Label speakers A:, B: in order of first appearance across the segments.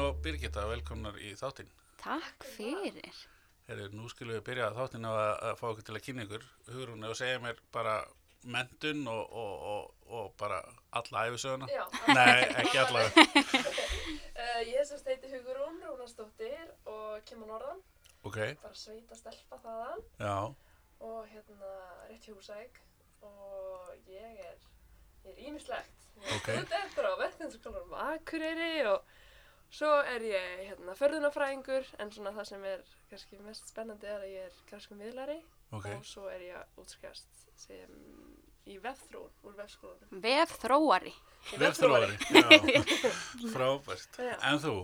A: og Birgitta, velkomnar í þáttinn.
B: Takk fyrir.
A: Herri, nú skulum við byrja þáttinn á að, að fá okkur til að kynna ykkur hugrunni og segja mér bara mentun og, og, og, og bara alla æfisöguna.
C: Já,
A: Nei, ekki alla.
C: uh, ég er sem steiti Hugurún Rúnarsdóttir og kemur norðan,
A: Ok,
C: bara sveita stelpa þaðan
A: já,
C: og hérna rétt hjá húsæk og ég er, ég er ímislegt.
A: Ok.
C: Þetta er bara verðinskólarum Akureyri og svo er ég hérna förðunafræðingur en svona það sem er kannski mest spennandi er að ég er kannski miðlari
A: ok,
C: og svo er ég að útskjast sem í vefþrún úr vefskólanum.
B: Vef þróari.
C: Ég er
A: vefþróari. Já, frábært.
C: Já.
A: En þú?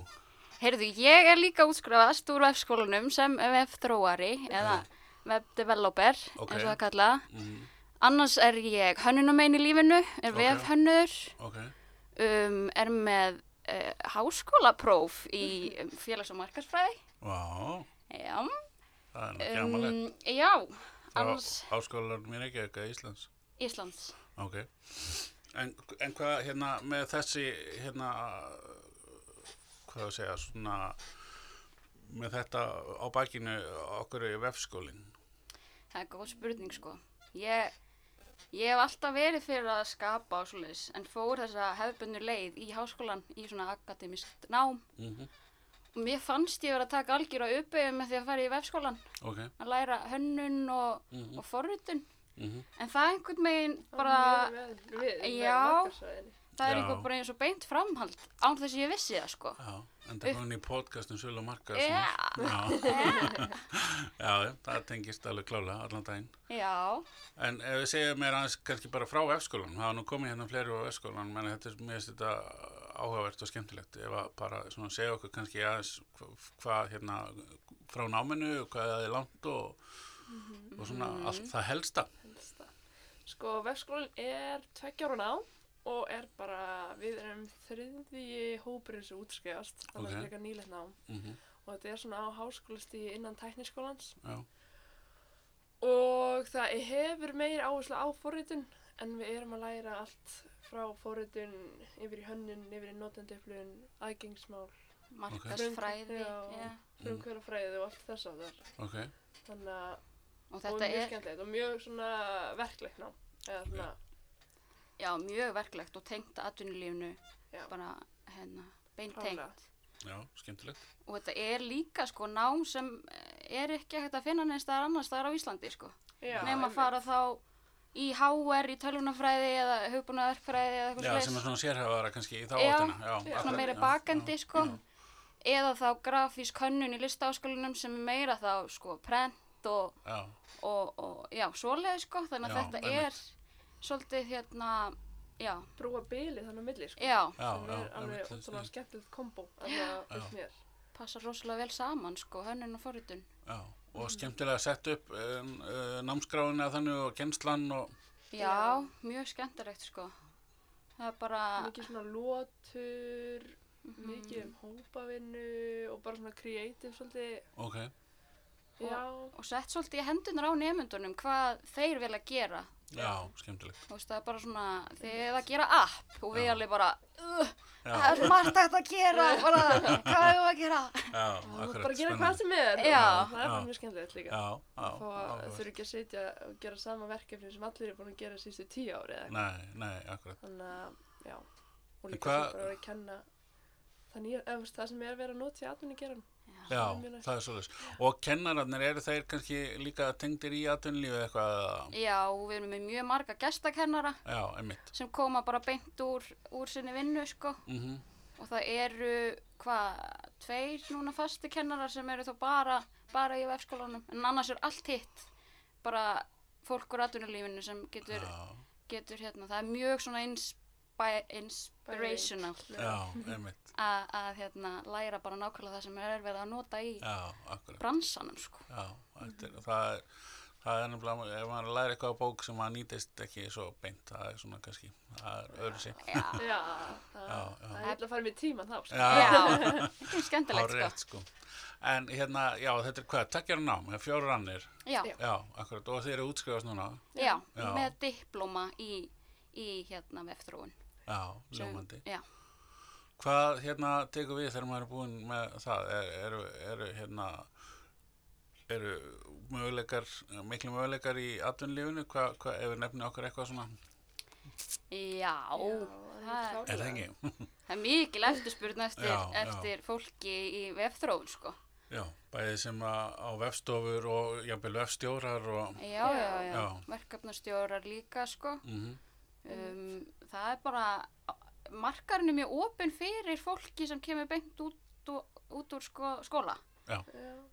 B: Heyrðu, ég er líka útskrafast úr vefskólanum sem vef þróari eða web developer,
A: Ok.
B: eins og það kalla.
A: Mm,
B: Annars er ég hönnunumein í lífinu,
A: Ok.
B: er okay. vefhönnur,
A: ok,
B: um, er með uh, háskólapróf í um, félags- og markarsfræði.
A: vá,
B: Já.
A: það er
C: Um,
A: nú gæmalegt.
B: já,
A: Um,
B: annars
A: Áskólanum í Reykjavík að Íslands.
B: Íslands.
A: Ok. En, en hvað hérna með þessi hérna hvað að segja svona með þetta á bakinu okkur í vefskólinn
B: Það er góð spurning sko. Ég, ég hef alltaf verið fyrir að skapa og svoleiðis en fór þessa hefðbunnu leið í háskólan í svona akademist nám
A: mm
B: og mér fannst ég vera að taka algjör á uppeyðum með því að fara í vefskólan
A: Ok.
B: að læra hönnun og,
A: Mhm.
B: og forritun
A: Mm -hmm.
B: en það er einhvern veginn bara,
C: Við, við, við,
B: Já.
C: markaðsræðinni.
B: það er
A: Já.
B: einhvern bara eins og beint framhald án þess að ég vissi það sko.
A: Já, en það komin í podcastum Svölu og Marka
B: Já.
A: Já. Já, já, það tengist alveg klálega allan daginn
B: Já,
A: En ef við segjum mér aðeins kannski bara frá vefskólan það er nú komið hérna fleiri á vefskólan menn þetta er mér finnst þetta áhugavert og skemmtilegt ef að bara svona segja okkur kannski aðeins hva- hvað hérna frá náminu, hvað það er langt og,
C: Mhm.
A: og svona allt það helsta
C: helsta. Sko, vefskólinn er tveggjára nám og er bara, við erum þriðji hópurinn sem útskefast, þannig
A: Ok.
C: að freka nýlegt nám.
A: mm -hmm.
C: Og þetta er svona á háskólistíi innan tækniskólans
A: Já,
C: og það hefur meir áherslu á forritun en við erum að læra allt frá forritun yfir í hönnun, yfir í notendöflun, aðgengsmál,
B: markasfræði
C: Já.
B: já.
C: frumkverafræði og allt þess að þar.
A: ok,
C: Þannig að,
B: og
C: og
B: þetta
C: mjög
B: er
C: skemmtilegt og mjög svona verklegt nám. Eða svona,
B: já, mjög verklegt og tengt atvinnulífinu
C: já,
B: bara hérna,
C: Klárlega.
B: beintengt
A: já, skemmtilegt
B: og þetta er líka sko nám sem eh, er ekki hægt að finna neins staðar annars staðar á Íslandi sko
C: já.
B: nefn
C: einmitt.
B: að fara þá í HR í tölvunafræði eða hugbúnaverkfræði eða
A: Já, sem
B: eitthvað
A: er
B: svona,
A: svona sérhæfara kannski í þá
B: Já,
A: áttina Já,
C: svona
A: akkurat,
B: svona meira
A: já,
B: bakandi
A: já,
B: sko
A: já.
B: eða þá grafísk hönnun í listaáskólinum sem er meira þá sko prent og,
A: Já,
B: og, og já, svoleiði sko þannig að
A: Já,
B: þetta
A: einmitt.
B: er svolítið hérna já,
C: brúa bilið þannig á milli sko.
B: já,
A: já,
C: sem
A: já,
C: er alveg
A: einmitt,
C: ótrúlega
A: já,
C: skemmtilegt kombo þannig að finnst mér
B: passa rosalega vel saman sko hönnun og forritun
A: já Og skemmtilega að setja upp um, uh, námskráinu að þannig og kennslan og
B: Já, mjög skemmtilegt sko. Það er bara,
C: mikið svona lotur mikið um hópavinnu og bara svona creative svolítið
A: Ok,
C: já,
B: og sett svolítið í hendunar á nefndunum hvað þeir vilja gera.
A: já, skemmtilegt
B: Þú veist, það er bara svona, þeir eru að gera app og við
A: Já.
B: alveg bara, "Ugh,
A: Já,
B: það er margt hægt að gera, bara, hvað erum við að gera?
A: já, akkurat,
C: þú mátt bara gera
A: spennandi.
C: hvað sem er
B: Já.
C: það er bara
A: Já.
C: mjög skemmtilegt líka
A: Já, já,
C: þá
A: áhugavert.
C: þurfi ekki að sitja og gera sama verkefni sem allir er búin að gera sístu tíu ári eða eitthvað.
A: Nei, nei, akkurat
C: þannig að, já og
A: En
C: líka
A: hvað-
C: svo bara að kenna þannig að nýja- eða, þú veist, það sem er verið að nota í atvinni geran
A: Já,
C: er mjög næst.
A: það er svolítið Og kennararnir, eru þeir kannski líka tengdir í atvinnlífið eitthvað eða-
B: Já, og við erum með mjög marga gestakennara
A: Já, einmitt
B: sem koma bara beint úr, úr sinni vinnu sko.
A: mm
B: Og það eru, hvað, tveir núna fasti kennarar sem eru þá bara, bara í vefskólanum. En annars er allt hitt, bara fólk úr atvinnulífinu sem getur
A: Já,
B: getur hérna, það er mjög svona inspi inspirational
A: já, einmitt
B: að að, hérna, læra bara nákvæmlega það sem er verið að nota í
A: Já, akkurat
B: bransanum sko.
A: Já, þetta er, það er Það er nefnilega, ef maður læri eitthvað á bók sem maður nýtist ekki svo beint, það er svona kannski, það er öðru sig.
B: Já,
C: já,
A: Já,
C: það
A: já.
C: það er illa að fara með tíman þá sko.
B: já, þetta er skemmtilegt sko.
A: hárrétt sko. En hérna, já, þetta er hvað, takkjar nám, fjóru rannir,
B: Já,
C: Já.
A: já, akkurat, og þeir eru útskrifast núna,
B: já,
A: Já.
B: með diplóma í, í hérna vefþróun.
A: já, ljómandi.
B: Já,
A: Hvað hérna tekur við þegar maður er búinn með það? Er, eru, eru hérna eru möguleikar, miklu möguleikar í atvinnlífinu? Hvað hva, ef við nefnum okkur eitthvað svona?
B: Já, það er,
C: það
A: Er það ekki?
B: það er mikil eftirspurn eftir,
A: Já, já.
B: eftir fólki í vefþróun, sko.
A: Já, bæðið sem að, á vefstofur og jafnvel vefstjórar og...
B: Já, já, já,
A: Já.
B: verkefnastjórar líka, sko.
A: Mm
B: Um, það er bara, markarinn er mjög opinn fyrir fólki sem kemur beint út, og, út úr sko, skóla.
C: Já,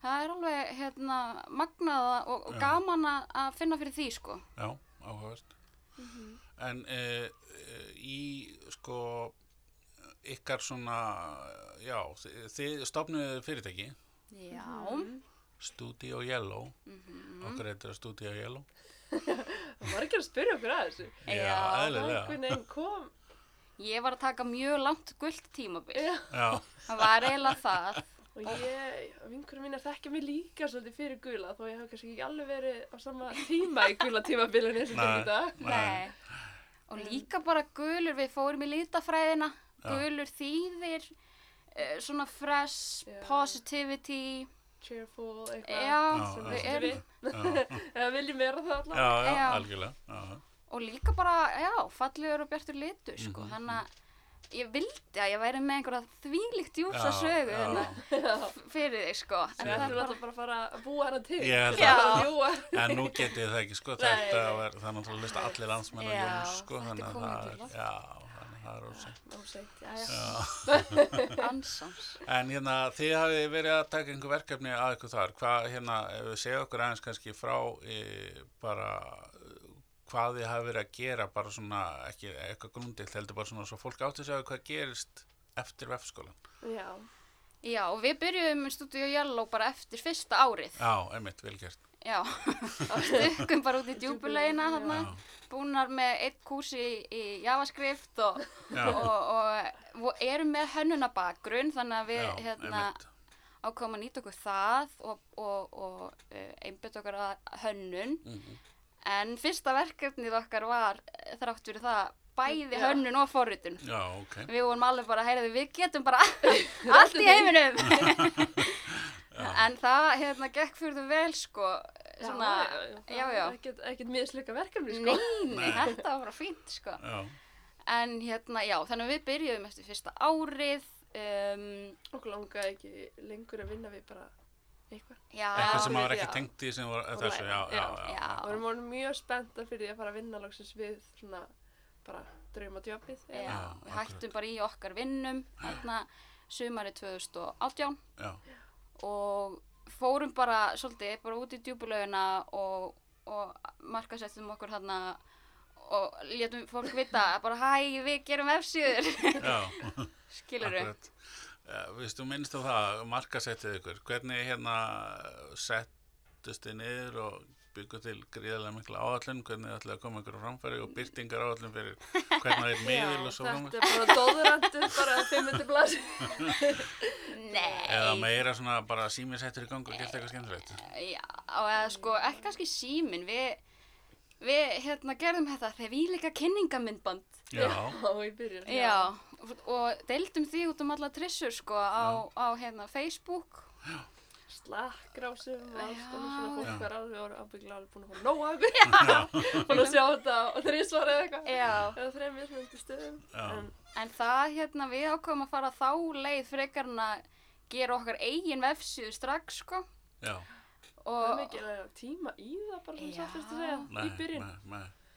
B: Það er alveg, hérna, magnaða og, og
A: Já.
B: gaman að að finna fyrir því, sko.
A: Já, áhugavert. Mhm. En uh, í sko ykkar svona, já, þi- þið stopnuðu fyrirtæki,
B: Já, Mhm.
A: Studio Yellow, okkur heitir það Studio Yellow.
C: það var ekki að spyrja okkur að þessu.
B: Já,
A: eðlilega.
C: Hvernig einn kom?
B: ég var að taka mjög langt gullt tímabil.
C: Já,
A: Já,
B: Það var eiginlega það.
C: og
A: Ah.
C: ég, vinkurum mínar þekkja mig líka svolítið fyrir gula þó ég hafa kannski ekki alveg verið á sama tíma í gula tímabilinu eins og
A: Nei.
C: þetta í dag.
A: Nei.
B: Nei. Og líka bara gulur, við fórum í litafræðina,
A: Já.
B: gulur þýðir, eh, svona fresh,
C: Já.
B: positivity,
C: Cheerful, eitthvað.
B: já,
A: Já,
B: við
A: já.
B: erum,
A: já,
C: Eða viljum vera það allavega.
A: já, já,
B: Já.
A: algjörlega. Já,
B: og líka bara, já, fallegur og bjartur litur, sko,
A: Mhm.
B: þannig að ég vildi að ég væri með einhverja þvílíkt djúsa
A: já,
B: sögu
A: já.
B: hérna f- fyrir þig, sko, en það
C: En
B: er
C: það er
B: bara,
C: alltaf bara að fara að búa hana til.
A: Ég held
B: Já.
A: að,
C: Bara ljúga.
A: en nú getið þið það ekki, sko,
C: Nei,
A: þetta
C: nei.
A: var, það er náttúrulega að lista allir landsmenn og
B: Já,
A: jóns, sko,
B: þetta
A: þannig að
B: kom
A: það
B: ekki
A: er,
B: langt.
A: já, þannig að það er ósætt.
C: Ná, seint, já, já.
A: Já.
B: ansans.
A: En hérna, þið hafið verið að taka einhver verkefni að ykkur þar. Hvað, hérna, ef við segja okkur aðeins kannski frá e, bara eh, hvað þið hafið verið að gera, bara svona, ekki eitthvað grundill, heldur bara svona svo fólk átti sig að hvað gerist eftir vefskólan.
C: Já,
B: Já, og við byrjuðum með Studio Yellow bara eftir fyrsta árið,
A: Já, einmitt, vel gert.
B: já, og stukkum bara út í djúpulegina
C: Já.
B: þarna,
A: Já,
B: búnar með eitt kúsi í javascript og,
A: já,
B: og, og, og erum með hönnunabakgrunn þannig að við
A: já,
B: hérna,
A: einmitt.
B: ákváðum að nýta okkur það og, og, og uh, einbytta okkur að hönnun
A: Mm
B: en fyrsta verkefnið okkar var eh, þrátt fyrir það bæði
C: Já.
B: hönnun og forritun
A: Já, ok.
B: við vorum alveg bara, heyrðu, við getum bara allt í heiminum en það hérna gekk fyrir þú vel sko svona,
C: það
B: já,
C: var
B: já.
C: Ekkert, ekkert miðslöka verkefni, sko.
B: Nei, nei, þetta var bara fínt sko.
A: Já,
B: En hérna, já, þannig að við byrjuðum eftir fyrsta árið, um,
C: Okkur langaði ekki lengur að vinna við bara eitthvað.
B: já,
A: eitthvað sem
C: já,
A: maður
C: já.
A: ekki tengt í sem var
C: Og
A: þessu, já,
C: læra,
A: já,
C: já,
A: já.
B: já.
C: Og við erum orðin mjög spennta fyrir því að fara að vinna loksins við svona bara draumadjöfið.
B: já,
A: Já,
B: við
A: akkurat.
B: hættum bara í okkar vinnum, hérna, sumarið 2018
A: Já,
B: og fórum bara, svolítið, bara út í djúbulögina og, og markasettum okkur hérna og létum fólk vita að bara hæ, við gerum vefsíður,
A: já.
B: skilur við.
A: Akkurat. Uh, Viðstu minnst á það, markasettið ykkur, hvernig hérna settust þið niður og byggu til gríðarlega mikla áallun, hvernig þið ætlaði að koma ykkur á framfæri og byrtingar áallun fyrir hvernig þið er miðil og svo framfæri?
C: þetta er bara dóðurandur, bara 500 blasi.
A: Eða
B: Nei,
A: meira svona bara sími settur í gang og gert eitthvað skemmtilegt?
B: já, eða sko, ekki kannski síminn, við, við, hérna, gerðum þetta þegar við líka kynningamindband.
A: Já,
C: í byrjun.
B: Já, og deildum því út um alla trissur sko á, á hérna Facebook
C: Slakkrásum og alls
B: Já.
C: konar svona
A: Já.
C: fólk var alveg orðið ábyggilega alveg búin að fá nóg af mér. Búin að sjá þetta og þrísvar eða eitthvað.
B: Já.
C: Eða þrejum mismunandi stöðum.
A: Já.
C: En
B: en það hérna við ákveðum að fara þá leið frekar en að gera okkar eigin vefsíðu strax sko
A: já,
C: það er
B: og
C: mikið að tíma í það bara svona
B: Já.
C: satt eftir að segja
A: nei,
C: í byrjun.
A: nei, nei,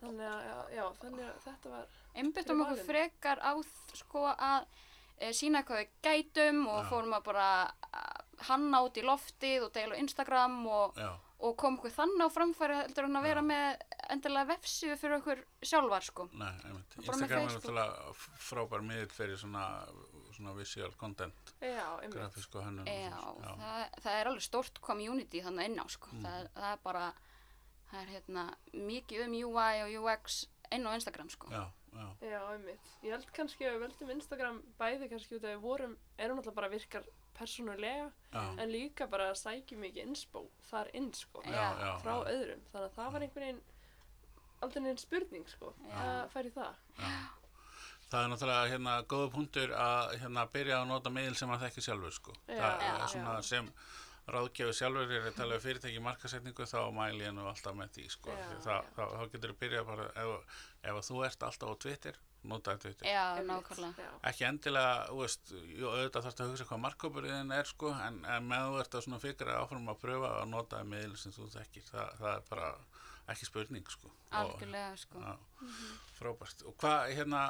C: Þannig að, já, já, þannig að þetta var,
B: einbyttum okkur
C: Fyrir valinu.
B: frekar á þ- sko að e, sína hvað við gætum og
A: Já.
B: fórum að bara að hanna út í loftið og deila á Instagram og,
A: já,
B: og kom okkur þannig á framfæri heldur en að vera
A: Já.
B: með endilega vefsíðu fyrir okkur sjálfar sko.
A: nei, einmitt.
B: með
A: Instagram er
B: Facebook.
A: náttúrulega f- frábær miðil fyrir svona, svona visual content,
C: já, einmitt.
A: grafísk og hönnun. og
B: Já,
A: svona,
B: það, það er alveg stórt community þannig inn á sko. Það, er- það er bara, það er hérna mikið um UI og UX inn á Instagram sko.
A: já, já, já,
C: Já, einmitt. Ég held kannski að við veldum Instagram bæði kannski út af við vorum, erum náttúrulega bara virkar persónulega,
A: já,
C: en líka bara sækjum mikið inspo þar inn, sko,
A: já, já,
C: frá
A: já.
C: öðrum. Þannig að það var einhvern veginn, aldrei neinn spurning, sko,
B: Já.
C: að færi það.
A: það er náttúrulega hérna góða punktur að hérna byrja að nota miðil sem að þekki sjálfur sko.
C: Já,
A: það
B: já.
A: er svona sem ráðgjöfu sjálfur er að tala um fyrirtæki í markasetningu þá mæli ég nú alltaf með því sko.
C: Já,
A: Því það,
C: já.
A: þá, þá getur þú byrjað bara ef, ef þú ert alltaf á Twitter, notaði Twitter
B: Já,
C: Einmitt,
B: nákvæmlega.
C: já.
A: ekki endilega, þú veist, jú, auðvitað þarfst að hugsa hvað markkópurinn er sko, en, en með þú ert að svona fikra áfram að pröfa að nota meðil sem þú þekkir, það, það er bara ekki spurning sko.
B: Algjörlega, sko.
A: Já, frábært. Og hvað, hérna,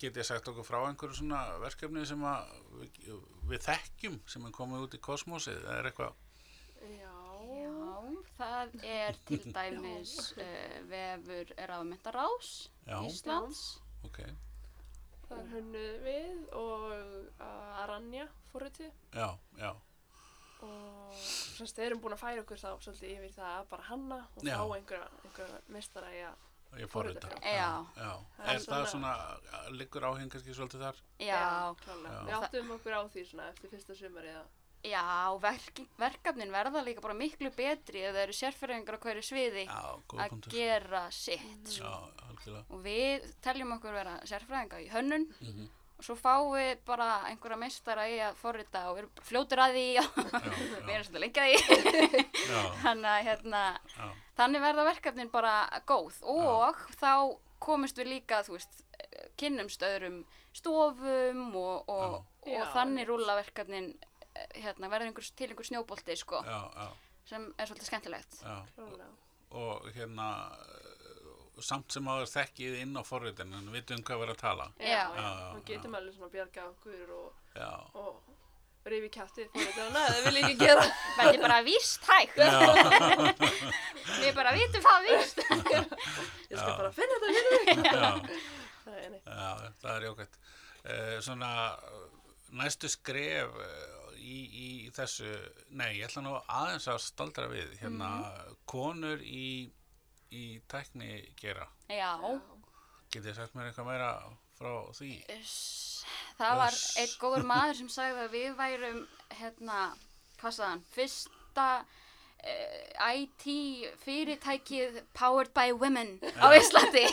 A: get ég sagt okkur frá einhverju svona verkefni sem að við, við þekkjum sem er komið út í kosmosið, það er eitthvað,
C: Já.
B: Já, það er til dæmis uh, vefur ráðmyndarás
A: Já.
B: Íslands.
A: ok,
C: Það er hönnuð við og uh, Aranja fóruðu
A: já, já,
C: og semst við erum búin að færa okkur þá svolítið yfir það að bara hanna og
A: Já.
C: fá einhverja, einhverja mistara í að
A: ég fór þetta.
B: Já.
A: Já,
C: Það er
A: er það svona,
C: svona-
A: liggur áheng kannski svolítið þar?
B: Já,
C: klálega.
A: Já.
C: Við áttum okkur á því svona eftir fyrsta sumari að
B: já verk, verkefnin verða líka bara miklu betri ef það eru sérfæringar á hverju sviði
A: Já, góð
B: að
A: punktur.
B: gera sitt.
A: Já, algjörlega.
B: Og við teljum okkur vera sérfræðinga í hönnun
A: Mm
B: og svo fáum við bara einhverja meistara í að forrita og við erum bara fljótir að því og
A: Já,
B: við erum svolítið lengjað í.
A: já,
B: Þannig að hérna,
A: já,
B: Þannig verða verkefnin bara góð og þá komist við líka, þú veist, kynnumst öðrum stofum og, og,
C: Já.
B: og
C: Já,
B: þannig
C: einmitt.
B: rúla verkefnin, eh, hérna, verður einhver, til einhver snjóbolti, sko,
A: já, já,
B: sem er svolítið skemmtilegt.
A: já.
C: klálega.
A: og hérna eh, samt sem áður þekkið inn á forritinu en vitum hvað við erum að tala
B: Já.
A: Já, já,
C: Og getum alveg svona að bjarga okkur og,
A: já,
C: og rifi kjáttið fóruðuna eða vil ekki gera.
B: Þetta er bara víst hægt,
A: já,
B: við bara vitum það víst.
C: Ég skal bara finna þetta fyrir mig.
A: já,
C: Það er neitt.
A: já það er jókvæmt uh, svona eh, næstu skref eh, í, í þessu nei, ég ætla nú aðeins að staldra við hérna, konur í, í tækni gera
B: Já,
A: getið þið sagt mér eitthvað meira frá því
B: Uss. það var
A: Uss.
B: einn góður maður sem sagði að við værum, hérna, hvað sagði hann, fyrsta eh, IT fyrirtækið powered by women á Íslandi.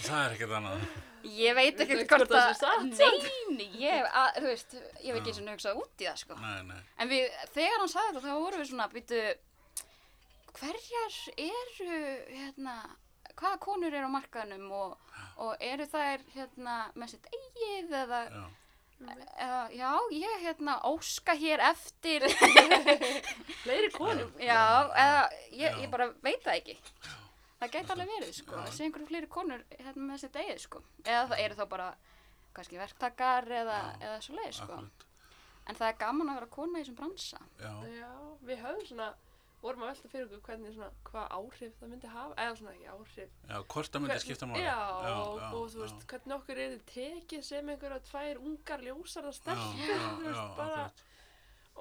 A: það er ekkert annað
B: Ég veit
C: Veistu
B: ekkert
C: ekki hvort
B: hvort
C: það
B: að...
C: sé satt,
B: Nein, ég, að, þú veist, ég hef ekki eins og hugsað út í það, sko.
A: nei, nei,
B: En við, þegar hann sagði þetta, þá vorum við svona, býtu, hverjar eru, hérna, hvaða konur eru á markaðnum og, og eru þær, hérna, með sitt eigið eða...
A: já,
B: Eða, já, ég hérna óska hér eftir,
C: Fleiri konum.
B: já, eða ég,
A: Já.
B: ég bara veit það ekki. Það gæti alveg verið, sko,
A: Já.
B: það sé einhverju fleiri konur hérna með sitt eigið, sko. Eða það eru þá bara kannski verktakar eða,
A: Já.
B: eða svo leið, sko.
A: akkurat
B: En það er gaman að vera kona í þessum bransa.
A: já,
C: Já, við höfum svona, vorum að velta fyrir okkur hvernig svona, hvað áhrif það myndi hafa, eða svona ekki áhrif.
A: já, hvort það myndi
C: Hvern-
A: skipta máli
C: Já, og, og þú
A: já.
C: veist, hvernig okkur er þið tekið sem einhverja tvær ungar ljósar það
A: Já, já,
C: stelpur, þú
A: já,
C: veist, bara,
A: akkurat.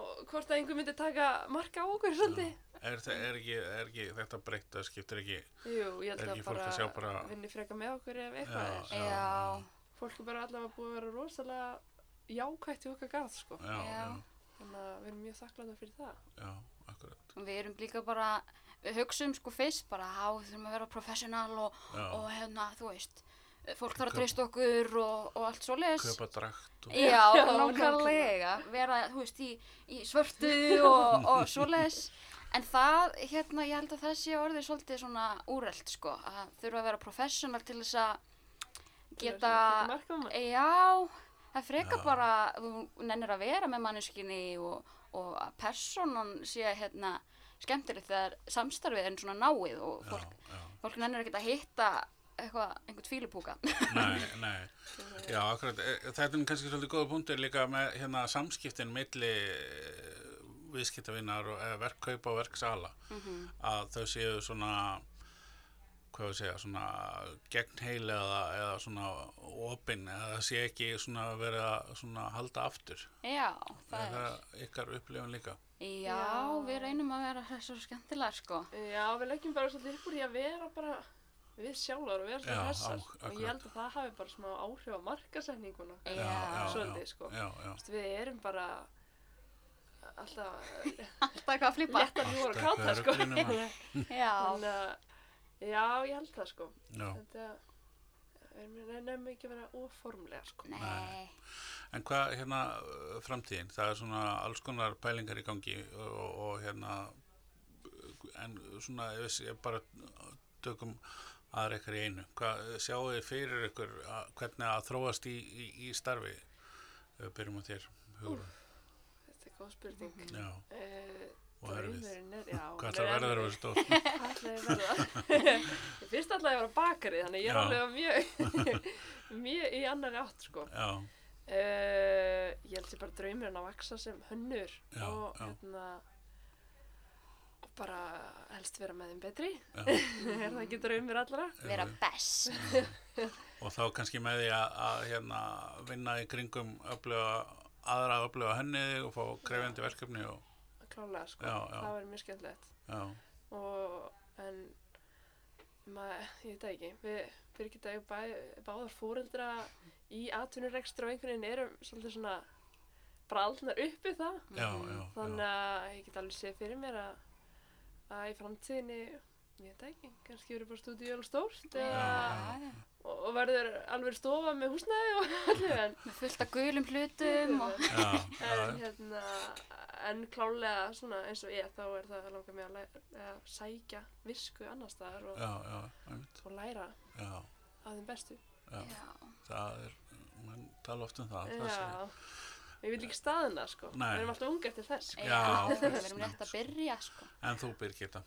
C: og hvort að einhver myndi taka marka á okkur svolítið.
A: er, þe- er, ekki, er ekki þetta breytt það skiptir ekki
C: Jú, ég
A: Er
C: held
A: ekki
C: að
A: fólk að
C: bara,
A: sjá bara-
C: vinni freka með okkur ef eitthvað
A: Já.
C: er.
B: Já,
C: Fólk er bara allavega búið að vera rosalega jákvætt í okkar garð, sko.
A: já, já,
B: Já.
A: já,
C: Þannig að við erum mjög þakkláta fyrir það.
A: akkurat
B: og við erum líka bara, við hugsum sko fyrst bara, há, við þurfum að vera professional og,
A: Já.
B: og hérna, þú veist, fólk þarf
A: Kaupa-
B: að treysta okkur og, og allt svo leiðis.
A: köpa drækt og,
B: Já,
C: Já,
B: nákvæmlega, vera, þú veist, í, í svörtu og, og svo leiðis. En það, hérna, ég held að það sé orðið svolítið svona úrelt, sko, að þurfa að vera professional til þess að
C: Til þess
B: geta...
C: að taka mark á manni.
B: Já, það freka
A: Já.
B: bara, þú nennir að vera með manneskinni og, og að personan sé hérna skemmtilegt þegar samstarfið er svona náið og
A: já,
B: fólk,
A: já,
B: fólk nennir ekkert að hitta eitthvað, einhvern fílupúka.
A: nei, nei já, akkurat, E, þetta er kannski svolítið góða punktur líka með hérna samskiptin milli eh, viðskiptavinnar og eh, verkkaupa og verksala að þau séu svona hvað við segja, svona gegnheil eða, eða svona opin eða það sé ekki svona verið að svona halda aftur
B: Já, það
A: er
B: er...
A: það ykkar upplifun líka
B: Já, við reynum að vera svo skemmtilega, sko.
C: Já, við leggjum bara svolítið upp úr því að vera bara við sjálfar og vera
A: Já,
C: svona
A: á-
C: hressar og
A: akkurat.
C: ég held að það hafi bara smá áhrif á markasetninguna.
B: Já,
A: já, já,
C: Svolítið,
A: já,
C: sko.
A: já, já,
C: Vist, Við erum bara alltaf
B: Alltaf eitthvað að flippa.
C: léttar hjóra og
A: Alltaf
C: káta
A: eitthvað
C: sko.
A: að rugla
C: Þannig
B: Já,
C: að, já, ég held það sko.
A: já,
C: Þetta, við nefnum ekki að vera óformlega sko.
B: Nei.
A: En hvað hérna uh, framtíðin? Það er svona alls konar pælingar í gangi og, og hérna en svona ef við sé- bara tökum aðra ykkur í einu. Hvað sjáu þið fyrir ykkur að, hvernig að þróast í, í, í starfi? Ef Við byrjum á þér, Hugrún.
C: Þetta er góð spurning. Mm
A: Já,
C: -hmm.
A: og erfið.
C: er, já.
A: Hvað ætlar að verða þér að vera stór?
C: Hvað ætlaði ég að verða? Ég fyrst ætlaði ég að vera bakari, þannig ég er
A: Já.
C: alveg á mjög, mjög í annari átt, sko.
A: Já,
C: Uh, ég held ég bara draumurinn að vaksa sem hönnur
A: Já,
C: og
A: já.
C: hérna og bara helst vera með þeim betri.
A: já.
C: er það ekki draumur allra?
B: Vera best.
A: Og þá kannski með því að, að hérna, vinna í kringum öfluga, aðra öfluga henniði og fá krefjandi verkefni og
C: Klálega, sko.
A: Já, já.
C: Það verður mjög skemmtilegt.
A: já,
C: og en maður, ég veit það ekki við fyrir ekki dag bæ, báðar fóreldra í atvinnurekstur og einhvern veginn erum svolítið svona braldnar uppi það
A: já, já, já.
C: Mm, þannig að ég get alveg séð fyrir mér að, að í framtíðinni ég veit það ekki, kannski verður bara stúdíu alveg stórt eða,
A: Já,
B: já.
C: og, og verður alveg stofa með húsnæði og allir en,
B: Með fullt af gulum hlutum og...
A: Já, já,
C: en hérna en klálega svona eins og ég þá er það langar mig að, læ- að sækja visku annars staðar og,
A: já, já, einmitt,
C: og læra
A: já,
C: af þeim bestu.
A: já,
B: Já.
A: það er, mann tala oft um það, það sé,
C: Já, við viljum ekki staðina sko,
A: Nei.
C: við erum alltaf ungar til þess. Sko.
A: Já,
B: Við
A: snemmt,
B: erum rétt að byrja, sko.
A: en þú Birgitta,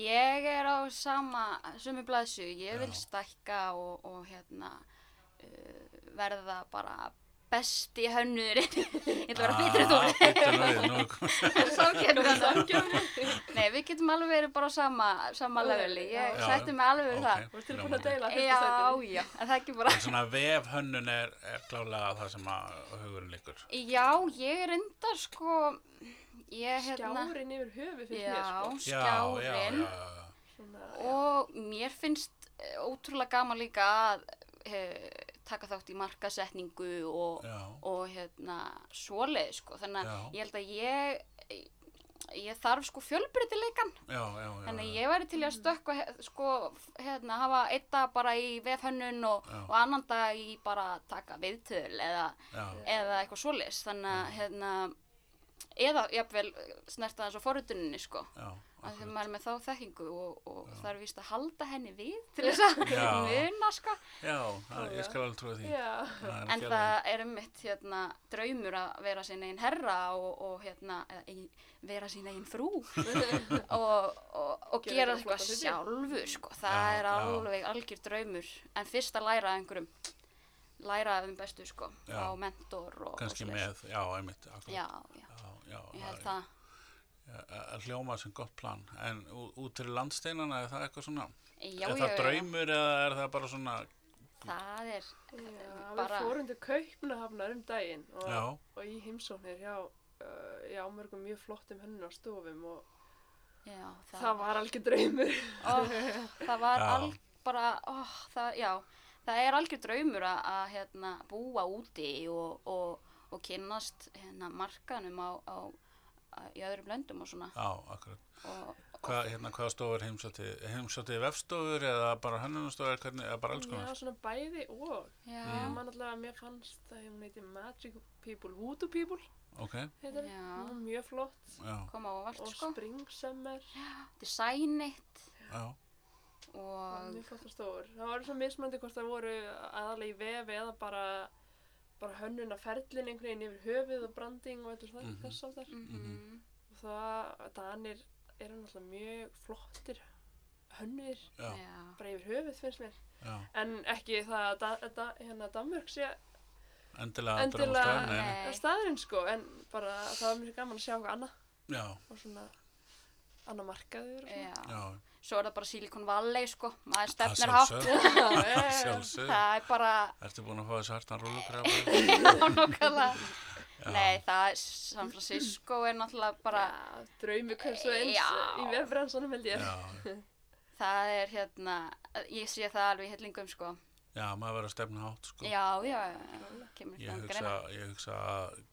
B: Ég er á sama, sömu blaðsu, ég vil
A: Já.
B: stækka og, og hérna uh, verða bara besti hönnurinn. ég ætla að
A: Ah.
B: vera betri en þú.
A: betur við, nú, er komið-
B: Samkeppni
C: Góð
B: þarna.
C: samkeppni.
B: Nei, við getum alveg verið bara á sama, sama
C: Já.
B: leveli. Ég
A: Já,
B: sætti
A: já.
B: mig alveg við
A: ok,
B: það.
C: Þú ert tilbúin að
A: hljómandi.
C: deila fyrstu
B: Já,
C: sætinu.
B: já, en það er ekki bara...
A: En svona vefhönnun er, er klálega það sem að hugurinn liggur,
B: Já, ég er undar, sko, ég hérna...
C: Skjárin yfir höfu fyrir mér
B: Já,
C: sko.
A: já, já,
B: skjárin.
A: já, já,
C: Svona,
B: Og mér finnst eh, ótrúlega gaman líka að he, taka þátt í markasetningu og,
A: já,
B: og hérna, svoleið, sko. Þannig
A: Já.
B: að ég held að ég, ég þarf sko fjölbreytileikan.
A: já, já, já,
B: Þannig að
A: já,
B: ég væri til í að
C: Mm.
B: stökkva, he- sko, hérna, hafa einn dag bara í vefhönnun og,
A: Já.
B: og annan dag í bara að taka viðtöl eða,
A: já,
B: eða eitthvað svoleiðis. Þannig
A: Mm.
B: að, hérna, eða jafnvel snerta þess á forrituninni, sko
A: já,
B: að því
A: akkurat.
B: maður er með þá þekkingu og, og það er víst að halda henni við til þess að
A: Já.
B: muna sko
A: já, það- ég skal alveg trúi því,
C: Já,
A: Það er
B: en
A: ekki alveg-
B: það er um mitt hérna, draumur að vera sín einn herra og, og hérna, eða ein, vera sín einn frú og, og, og
C: Gera
B: gera
C: eitthvað
B: eitthvað
C: flotta hluti.
B: sjálfur sko. það
A: Já,
B: er
A: já.
B: alveg algjör draumur en fyrst að læra af einhverjum læra af um bestu sko
A: Já.
B: á mentor og
A: kannski
B: og svoleiðis.
A: með, sko. já, einmitt, akkurat,
B: já, já,
A: já, já, það
B: ég held
A: er-
B: það
A: Já, að hljóma sem gott plan en ú- út til landsteinana er það eitthvað svona
B: já,
A: er
B: já,
A: það
B: já, já,
A: draumur eða er það bara svona
B: það er
C: já,
B: Bara-
C: við fórum til kaupnahafnar um daginn
A: já,
C: og, og í heimsóknir hjá, uh, já, mörgum mjög flottum hönnun á stofum og
B: já,
C: það, var algjör draumur.
B: Ó, það var
A: Já.
B: alg, bara, ó, það, já, það er algjör draumur að, að hérna, búa úti og, og, og kynnast hérna, markanum á, á, á, í öðrum löndum og svona.
A: já, akkurat
B: Og,
A: Hva, hérna, hvaða stofur heimsóttið heimsóttið vefstofur eða bara hönnunastofur hvernig, eða bara alls
C: Já,
A: konar
C: svona bæði og.
B: já,
C: Ég
A: Mm.
C: man alltaf að mér fannst að hún heiti Magic People, Voodoo People
A: ok,
C: heitir
B: Já.
C: það, mjög flott
A: já,
B: koma á vart,
C: og
B: sko.
C: Spring Summer,
B: Designitt
A: já,
B: og,
C: mjög flottar stofur. Það var svona mismandi hvort það voru aðalega í vefi eða bara, bara hönnun af ferlin einhvern veginn yfir höfuð og branding og eitthvað mm
A: Mhm.
C: þess að þar.
B: mhm,
C: Og það, Danir eru náttúrulega mjög flottir hönnir
A: já,
B: já,
C: bara yfir höfuð finnst mér.
A: já
C: En ekki það að da, da, hérna Danmörk sé
A: endilega,
C: Endilega-
A: endilega nei.
B: Nei.
C: staðurinn sko, en bara það var mjög gaman að sjá okkur annað.
A: já,
C: og svona annar markaður og svona.
B: já.
A: já,
B: Svo er það bara Silicon Valley, sko, maður stefnir hátt.
A: sjálfsög sjálfsög,
B: Það er bara,
A: ertu búin að fá þessu hartan rúlugrafa
B: já, nokkulega. Nei, það er, San Francisco er náttúrulega bara,
C: Já, draumi hversu eins
B: Já.
C: í vefbransanum held ég
A: já,
B: Það er hérna, ég sé það alveg í hellingum sko.
A: já, maður verður að stefna hátt sko
B: Já, já, já, já, kemur
A: Ég
B: fram
A: hugsa,
B: greina.
A: ég hugsa að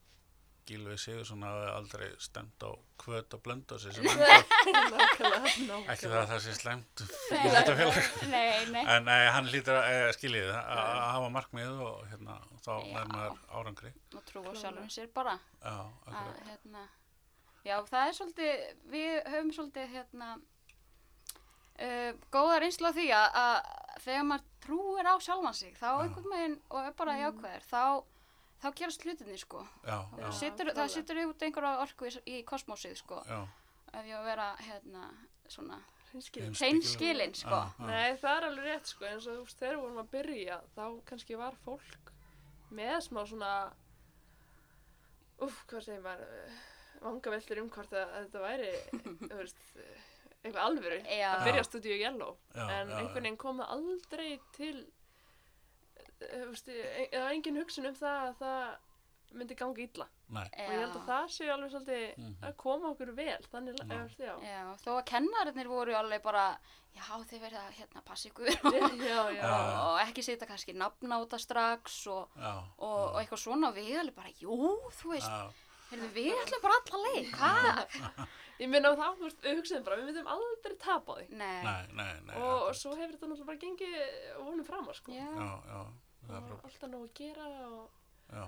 A: Gilvi Sigursson hafi aldrei stemt á kvöt og blönda sér sem ekki
C: nákvæmlega,
A: það
C: nákvæmlega.
A: að það sé slemt fyrir þetta félag
B: Nei, nei.
A: en nei, hann lítur að eh, skiljiði það, að að hafa markmið og hérna, þá
B: Já.
A: nær maður árangri
B: Og trúa
C: Klárlega.
B: sjálfum sér bara.
A: já,
B: Að,
A: akkurat.
B: hérna, já, það er svolítið, við höfum svolítið, hérna, uh, góða reynslu á því að, að þegar maður trúir á sjálfan
A: Ah.
B: sig, þá einhvern veginn, og er bara jákvæðir, þá, þá gerast hlutinni, sko.
A: já,
B: Þú
A: já,
B: Setur, það
C: klárlega.
B: setur þig út einhverja orku í, í kosmósið, sko.
A: já,
B: Ef ég á að vera, hérna, svona,
C: Hreinskilin.
A: Heimspekileg.
B: hreinskilin, sko.
A: já, já,
C: Nei, það er alveg rétt sko, eins og þú veist, þegar við vorum að byrja, þá kannski var fólk með smá svona, uff, hvað segir maður, eh, vangaveltur um hvort að, að þetta væri, þú veist, eitthvað alvöru
B: Já.
C: að byrja Studio Yellow,
A: Já,
C: en
A: já, já.
C: einhvern veginn kom það aldrei til, eh, þú veist, e- það var engin hugsun um það að það myndi ganga illa
A: nei,
B: Já.
C: og ég held að það sé alveg svolítið
A: Mhm.
C: að koma okkur vel, þannig,
A: Já.
C: eða, þú veist, já,
B: Já, þó að kennarinnir voru alveg bara, já, þið verða, hérna, passi ykkur og,
C: já, já,
A: Já.
B: og, og ekki setja kannski nafn á þetta strax og,
A: já,
B: og, og eitthvað svona og við alveg bara, jú, þú veist, eh,
A: já,
B: heyrðu, við ætlum bara alla leið, hvað?
C: ég minna á það, þú veist, við hugsaðum bara, við myndum aldrei tapa því
B: Nei,
A: nei, nei, nei
C: og, og
A: akkurat.
C: svo hefur þetta náttúrulega bara gengið vonum framar sko
B: já,
A: já, já, það er
C: og
A: frábært
C: alltaf nóg að gera og,
A: já,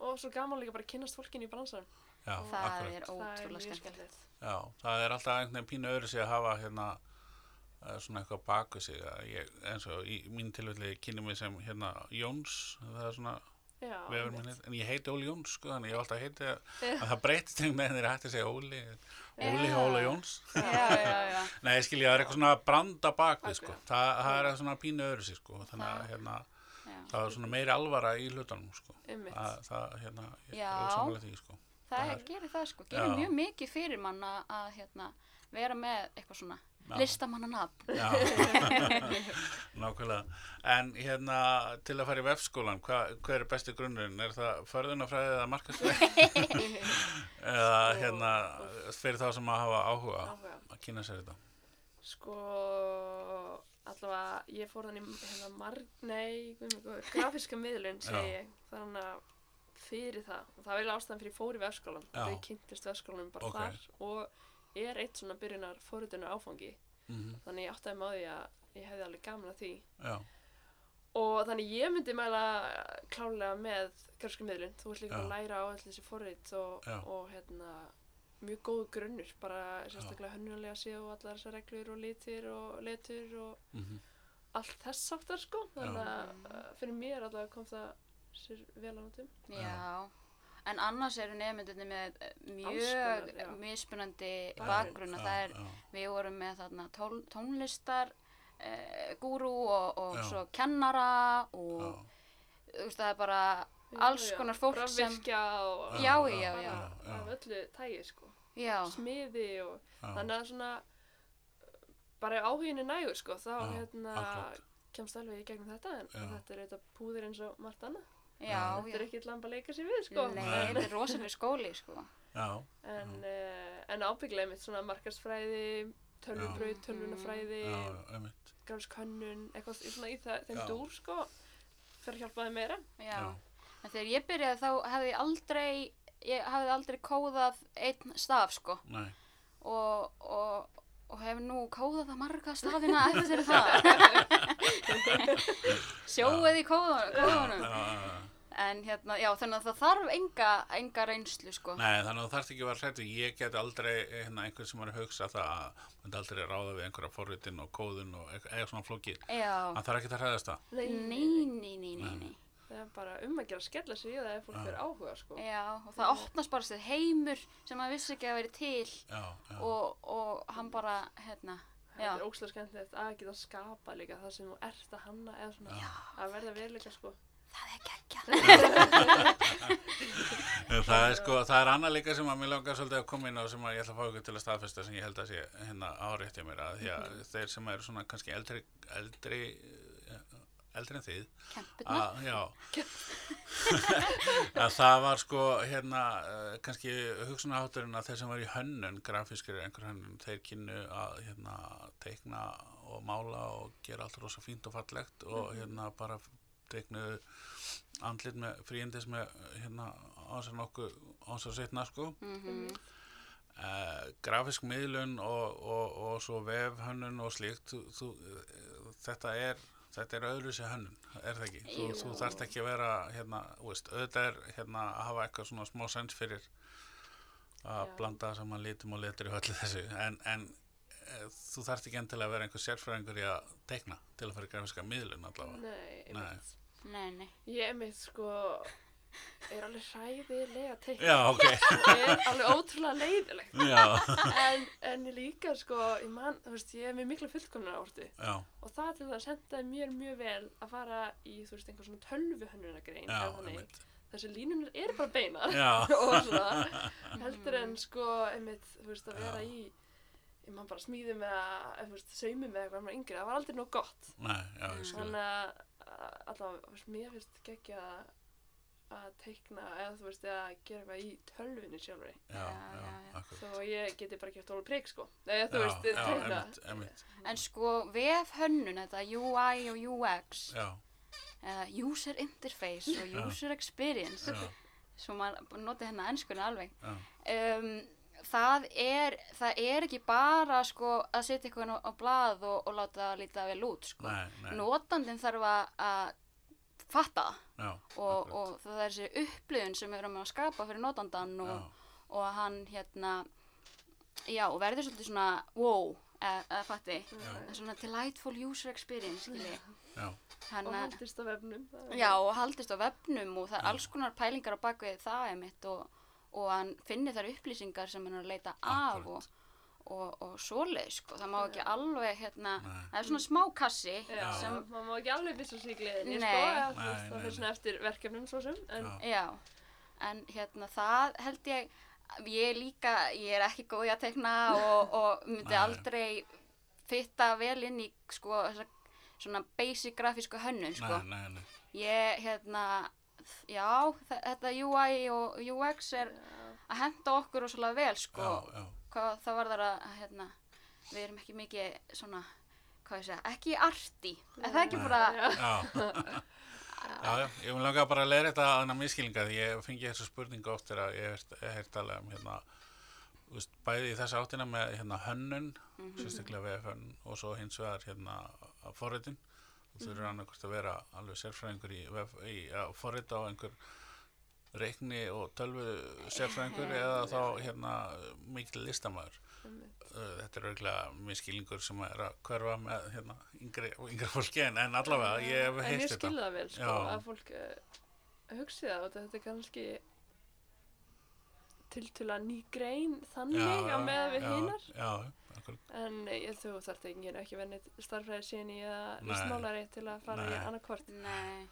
C: og svo gaman líka bara að kynnast fólkinu í bransanum
A: já,
B: það
A: akkurat
B: er ótrúlega skemmtilegt.
A: Já, það er alltaf einhvern veginn pínu öðru sig að hafa hérna eh, svona eitthvað baku sig að ég, eins og í mín tilfelli kynni mig sem hérna Jóns það er svona
C: já,
A: vefur minn heit- en ég heiti Óli Jóns sko þannig ég hef alltaf heiti að, að það breytist einhvern veginn þegar ég hætti að segja Óli Óli
B: Já.
A: og Óla Jóns
B: Já, já, já.
A: Nei, skilja, það er eitthvað svona branda baku
C: Bakvið.
A: sko það, það er svona pínu öðru sig sko þannig að
B: Það-
A: hérna
B: já.
A: það er svona meiri alvara í hlutanum sko
C: einmitt
A: að, það hérna ég,
B: Já.
A: er sammála því sko
B: Það
A: Það-
B: gerir það sko, gerir
A: Já.
B: mjög mikið fyrir mann að, að hérna, vera með eitthvað svona
A: Já.
B: listamannanab.
A: Já, nákvæmlega. En hérna, til að fara í vefskólan, hva, hver er besti grunnurinn? Er það förðunafræðið eða markastræðið? eða
B: Sko.
A: hérna, fyrir þá sem að hafa áhuga
C: Áhuga.
A: að kynna sér þetta?
C: sko allavega ég fór þannig hérna marg, nei, guð mig góður, grafíska miðlun segi
A: Já.
C: ég, þannig að fyrir það, og það er eiginlega ástæðan fyrir ég fór í vefskólan
A: Já.
C: þau kynntist vefskólanum bara
A: Ok.
C: þar og er eitt svona byrjunar fóruðunar áfangi
A: Mm
C: þannig ég áttaði maður því að ég hefði alveg gaman að því
A: Já,
C: og þannig ég myndi mæla klálega með grafskumiðlun þú ert líka að
A: Já.
C: læra á allir þessi forrit og,
A: Já.
C: og hérna mjög góðu grunnur, bara sérstaklega hönnunlega séð og allar þessar reglur og litir og letur og
A: mm
C: allt þess áttar sko þannig að uh, fyrir mér allavega kom það sér vel á notum
B: Já. En annars eru nefnendunni með eh,
C: Alls
B: mjög
C: konar, já.
B: mismunandi
C: Bakgrunn.
B: bakgrunna.
A: já,
B: Það er
A: já,
B: Við vorum með þarna tón, tónlistar uh, gúrú og, og
A: Já.
B: svo kennara og
A: já,
B: þú veist það er bara alls konar fólk sem
C: grafvirkja og
B: Já,
A: Já,
B: já,
C: bara
B: já.
A: já.
C: af öllu tægi sko
B: Já,
C: smiði og
A: já,
C: þannig að svona bara ef áhugin er nægur sko þá
A: Já,
C: hérna
A: akkurat.
C: kemst alveg í gegnum þetta en
A: Já.
C: þetta er auðvitað púðir eins og margt annað
B: já,
C: þetta
B: já.
C: er ekkert lamba að leika sér við sko
B: Nei,
A: Nei.
B: þetta er rosalega skóli, sko.
A: já,
C: en, uh, en ábygglega mitt svona markarsfræði tölvubraut, tölvunafræði
A: já, einmitt,
C: grafsk hönnun, eitthvað í- svona í það, þeim
A: Já.
C: dúr sko fyrir að hjálpa þeim meira
B: Já.
A: já,
B: En þegar ég byrjaði þá hefði ég aldrei, ég hefði aldrei kóðað einn staf, sko.
A: nei,
B: Og, og, og hef nú kóðað það marga stafina eftir það. Sjóið í kóðan-
A: já,
B: kóðanum.
A: já, já.
B: En hérna, já, þannig að það þarf enga, enga reynslu, sko.
A: Nei, þannig að þú þarft ekki að vera hrættu. Ég get aldrei, hérna, einhvern sem er að hugsa það að myndi aldrei ráða við einhverja forritin og kóðun og eitthvað eitthvað svona flókið.
B: Já.
A: Það þarf ekki að hræðast það.
C: Nei,
B: Nei, nei, nei, nei, nei.
C: það er bara um að gera að skella sér í það ef fólk
A: Já.
C: fyrir áhuga sko
B: Já, og það opnast bara sér heimur sem maður vissi ekki að veri til
A: Já, já,
B: og, og hann bara, hérna,
C: það
B: já,
C: er ókslega skemmtilegt að geta skapa líka það sem þú ert að hanna eða svona að verða veruleika sko
B: það er geggjað.
A: En það er sko, það er annað líka sem að mér langar svolítið að koma inn á sem að ég ætla að fá ykkur til að staðfesta sem ég held að sé hérna árétt ég mér að því
B: Mhm.
A: að þeir sem eru svona kannski eldri, eldri, eh, eldri en þið,
B: Kempirnar.
A: að, Ah, já, að það var sko hérna eh, kannski hugsunahátturinn að þeir sem var í hönnun, grafískir einhver hönnun, þeir kynnu að hérna teikna og mála og gera allt rosa fínt og fallegt og hérna bara teiknuðu andlit með fríindis með hérna ásar nokkuð ásar setna sko
B: Mhm.
A: uh, grafisk miðlun og, og, og svo vefhönnun og slíkt þú, þú, eh, þetta er þetta er öðruvísi hönnun, er það ekki þú,
B: Jú.
A: þú þarft ekki að vera hérna, þú veist, auðvitað er hérna, að hafa eitthvað svona smá sens fyrir að
C: Já.
A: blanda saman litum og letur í öllu þessu en, en eh, þú þarft ekki endilega að vera einhver sérfræðingur í að teikna til að fara í grafiska miðlun allavega
C: Nei,
A: Nei.
C: einmitt.
B: Nei, nei.
C: Ég einmitt sko er alveg hræðilega teikn.
A: já, ok,
C: Ég er alveg ótrúlega leiðilegt.
A: já,
C: En, en ég líka sko, ég man, þú veist, ég er með mikla fullkomna orðu
A: já
C: og það til það sendaði mér mjög vel að fara í, þú veist, einhver svona tölvuhönnunagrein.
A: já,
C: eða þannig.
A: einmitt
C: Þessi línunar eru bara beinar
A: já,
C: og svona heldur en sko, einmitt, þú veist, að vera
A: Já.
C: í, ég man bara smíði með að, þú veist, saumi með eitthvað maður yngri, það var aldrei nóg gott.
A: nei, já, ég skil
C: Þannig að að- allavega, þú veist, mér finnst geggja að teikna eða þú veist, að gera eitthvað í tölvunni sjálfri
A: já,
B: Já,
A: já,
B: já, já.
A: akkurat
C: þó að ég geti bara gert alveg prik sko eða þú
A: Já,
C: veist,
A: já,
C: teikna
A: einmitt, einmitt,
B: En sko, vefhönnun, þetta UI og UX,
A: já,
B: uh, User Interface og
A: Já.
B: User Experience,
A: já
B: svo maður noti hérna ennskunni alveg.
A: Já,
B: um, það, er, það er ekki bara sko, að setja eitthvað á, á blað og, og láta það líta vel út sko.
A: nei, nei,
B: notandinn þarf að, að fatta það
A: já,
B: og,
A: akkurat.
B: og það er þessi upplifun sem við erum að skapa fyrir notandann
A: já,
B: og, og að hann hérna já og verður svolítið svona wow eða eða fatti
C: Mm.
A: Já.
B: svona delightful user experience skilji.
A: já,
B: hann
C: og
B: að
C: haldist á vefnum það er-
B: já og haldist á vefnum og það er alls konar pælingar á bakvið það einmitt og, og hann finni þar upplýsingar sem hann er að leita af
A: Akkúrat.
B: og, og, og svoleið sko það má ekki alveg hérna
A: Nei.
B: það er svona smá kassi
C: Já,
B: sem
C: maður má ekki alveg byrja sér í gleðinni
B: Nei.
C: sko, eða þú
A: Nei,
C: veist,
A: nei,
C: það fyrir
A: nei.
C: svona eftir verkefnum svo sem en
A: já,
B: Já, en hérna það held ég, ég er líka, ég er ekki góð í að tekna og, og myndi
A: Nei.
B: aldrei fitta vel inn í sko þessa svona basic grafísku hönnun sko.
A: nei, nei, nei,
B: Ég hérna, já, þe- þetta UI og UX er að henda okkur rosalega vel sko.
A: já, já,
B: Hvað það var þar að hérna, við erum ekki mikið svona, hvað ég segja, ekki arti. Er það ekki
A: Nei.
B: bara,
C: já,
A: já, já, já, ég vil langa bara að leira þetta að hana miskilinga því ég fengi þessu spurningu oft þegar ég hef heyrt talað um hérna, þú veist, bæði í þessa áttina með hérna hönnun,
B: Mhm.
A: sérstaklega VFN og svo hins vegar hérna forritin, þú þurfur annað hvort að vera alveg sérfræðingur í, vef, í að forrita á einhver reikni og tölvu sérfræðingur eða þá hérna mikil listamæður.
C: einmitt.
A: Uh, þetta er auðvitað miskilingur sem er að hverfa með hérna, yngri, yngri fólki en, en allavega, ég hef
C: en
A: heist
C: ég
A: þetta
C: skilða það vel sko,
A: Já.
C: að fólk uh, hugsi það og þetta er kannski tiltöla ný grein þannig
A: Já,
C: að með við
A: já,
C: hinar
A: já, akkurat,
C: en ég, þú þarf ekki, ég er ekki verið starfræðið síðan í eða
A: Nei.
C: listmálari til að fara í
A: Nei.
C: annarkvort
B: nei,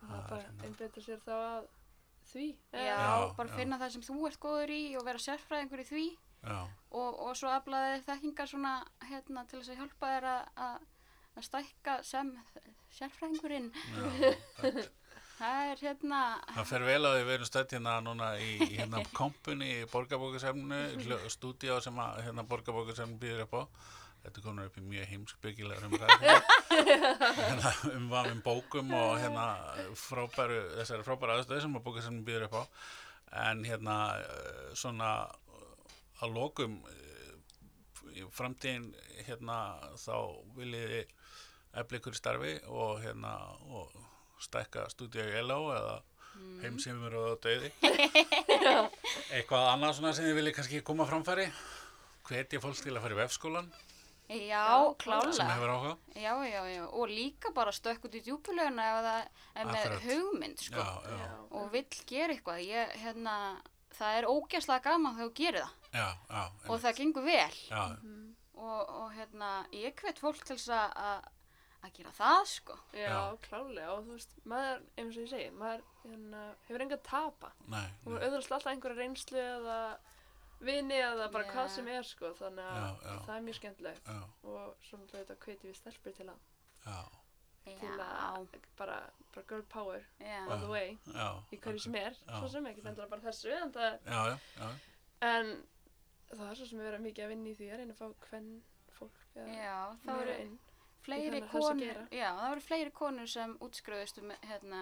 C: og það
A: Það er
C: bara
A: svona-
C: einbetur sér þá að því Eh,
B: já,
A: Já,
B: bara
A: já.
B: finna það sem þú ert góður í og vera sérfræðingur í því.
A: já,
B: og, og svo aflaði þér þekkingar svona hérna til þess að hjálpa þér að, að, að stækka sem sérfræðingurinn.
A: já það,
B: Það er hérna,
A: það fer vel að við verum stödd hérna núna í í hérna kompunni í borgarbókasefnu, stúdíó sem að hérna borgarbókasefnu býður upp á þetta komur upp í mjög heimskbyggilega umræð hérna, um vafin bókum og hérna frábæru, þessari frábæru aðstöðu sem að bókasefnu býður upp á en hérna eh, svona eh, að lokum eh, í framtíðin hérna þá viljiði efla ykkur í starfi og hérna og stækka stúdíu í LO eða heim sem eru á döiði eitthvað annað svona sem þið viljið kannski koma á framfæri hvetja fólk til að fara í vefskólan
B: já,
A: sem
B: klála,
A: hefur áhuga
B: já, já, já, og líka bara stökk út í djúpuleguna ef það er með
A: Akkurat.
B: hugmynd, sko,
A: já, já, já,
B: og vill gera eitthvað, ég, hérna, það er ógæslega gaman þegar þú gerir það
A: já, já,
B: og það gengur vel
A: já,
B: og, og hérna, ég hvet fólk til þess að, að, að gera það, sko,
C: Já,
A: Já.
C: klálega og þú veist, maður, eins og ég segi, maður hérna, hefur enga að tapa.
A: nei,
C: Og
A: nei,
C: maður auðvitað alltaf einhverja reynslu eða vini eða bara
B: Já.
C: hvað sem er sko, þannig að
A: Já, já.
C: það er mjög skemmtilegt.
A: já,
C: Og svona þetta hveiti við stelpur til að,
A: já,
C: til
B: já,
C: að bara, bara girl power
B: já.
C: all the way
A: já
C: í hverju sem er,
A: Já.
C: svo sem ekki endur bara þessu, en það,
A: já, já, já,
C: en það er svo sem við verðum mikið að vinna í því að reyna að fá hvern fólk eða
B: Já, þá
C: meira
B: eru,
C: inn.
B: fleiri
C: þennan þess að
B: konur,
C: gera.
B: já, það voru fleiri konur sem útskriðust með, hérna,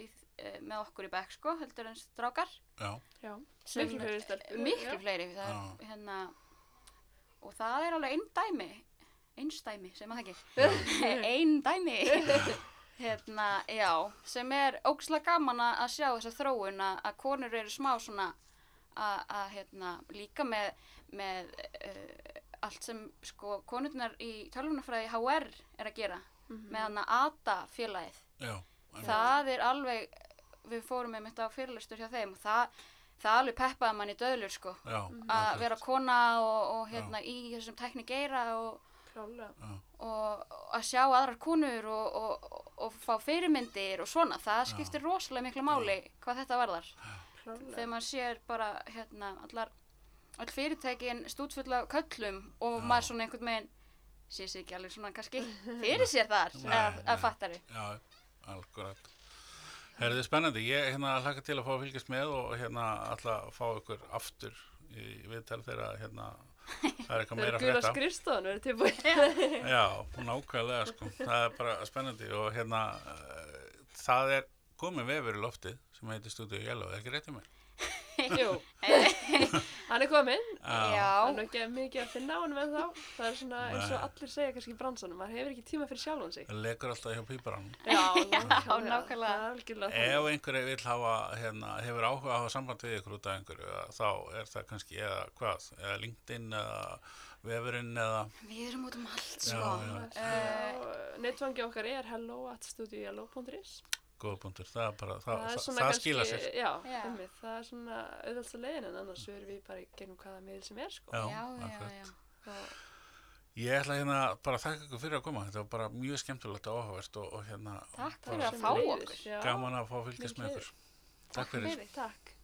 B: í, eh, með okkur í bekk, sko, heldur en strákar.
A: já,
C: Já,
B: sem-
C: miklu fyrir stelpur.
B: Miklu
C: já.
B: fleiri, það er,
A: Já.
B: hérna, og það er alveg einn dæmi, einstæmi, sem að það ekki,
C: Já.
B: einn dæmi, hérna, já, sem er ógslag gaman að að sjá þessa þróun að að konur eru smá svona að, að hérna, líka með, með uh, allt sem, sko, konurnar í tölvunafræði HR er að gera,
C: Mhm.
B: með hann að ATA félagið,
A: já.
B: það er alveg, við fórum með mitt á fyrirlistur hjá þeim og það, það alveg peppaði mann í döðlur sko
A: Já,
C: Mhm.
B: að
A: akkurat.
B: vera kona og, og hérna í þessum tækni geira og,
C: Klálega.
A: Já,
B: og, og að sjá aðrar konur og, og, og fá fyrirmyndir og svona, það skiptir rosalega miklu máli hvað þetta varðar.
C: Klálega.
B: Þegar maður sér bara hérna allar, all fyrirtækin stútfull af köllum og
A: Já.
B: maður svona einhvern veginn sé sig ekki alveg svona kannski fyrir sér þar
A: Nei,
B: að,
A: nei.
B: að fattari.
A: já, algrætt. Herðið spennandi, ég hérna hlaka til að fá að fylgjast með og hérna ætla að fá ykkur aftur í viðtal þegar hérna það er eitthvað
C: Þegar
A: meira að
C: gula
A: frétta.
C: skrifstofan verður tilbúin.
A: Já, nákvæmlega sko, það er bara spennandi og hérna eh, það er komið vefur í loftið sem heitir Studio Yellow, er ekki rétt í mér?
C: Jú. Hann er kominn.
B: Já.
C: Það er nú ekki mikið að finna á hann með þá. Það er svona eins og
A: Nei.
C: allir segja kannski í bransanum. Maður hefur ekki tíma fyrir sjálfan sig.
A: Það lekur alltaf hjá píparann.
C: Já,
B: nákvæmlega.
C: Það er algjörlega
A: Ef
C: þannig.
A: einhverju vill hafa, hérna, hefur áhuga að hafa samband við ykkur út af einhverju, eða þá er það kannski eða hvað, eða LinkedIn eða vefurinn eða,
B: Við erum út um
A: Já,
B: allt sko.
A: já.
B: Eh,
C: Nettvangi okkar er hello.studiojalo.is
A: góða punktur, það er bara, það,
C: Það,
A: það,
C: er
A: það,
C: svona kannski,
A: skila sér.
C: já,
B: Já.
C: einmitt, það er svona auðvöldsta leiðin en annars erum við bara í gegnum hvaða miðl sem er sko.
A: Já,
B: já, já,
A: akkurat.
B: já.
C: Og,
A: Ég ætla hérna bara að þakka ykkur fyrir að koma, þetta var bara mjög skemmtilegt og áhugavert og, og hérna
B: Takk
A: bara
B: fyrir að fá okkur.
C: Já.
A: gaman að fá að fylgjast
C: Mikið
A: með ykkur. Takk fyrir.
C: Takk.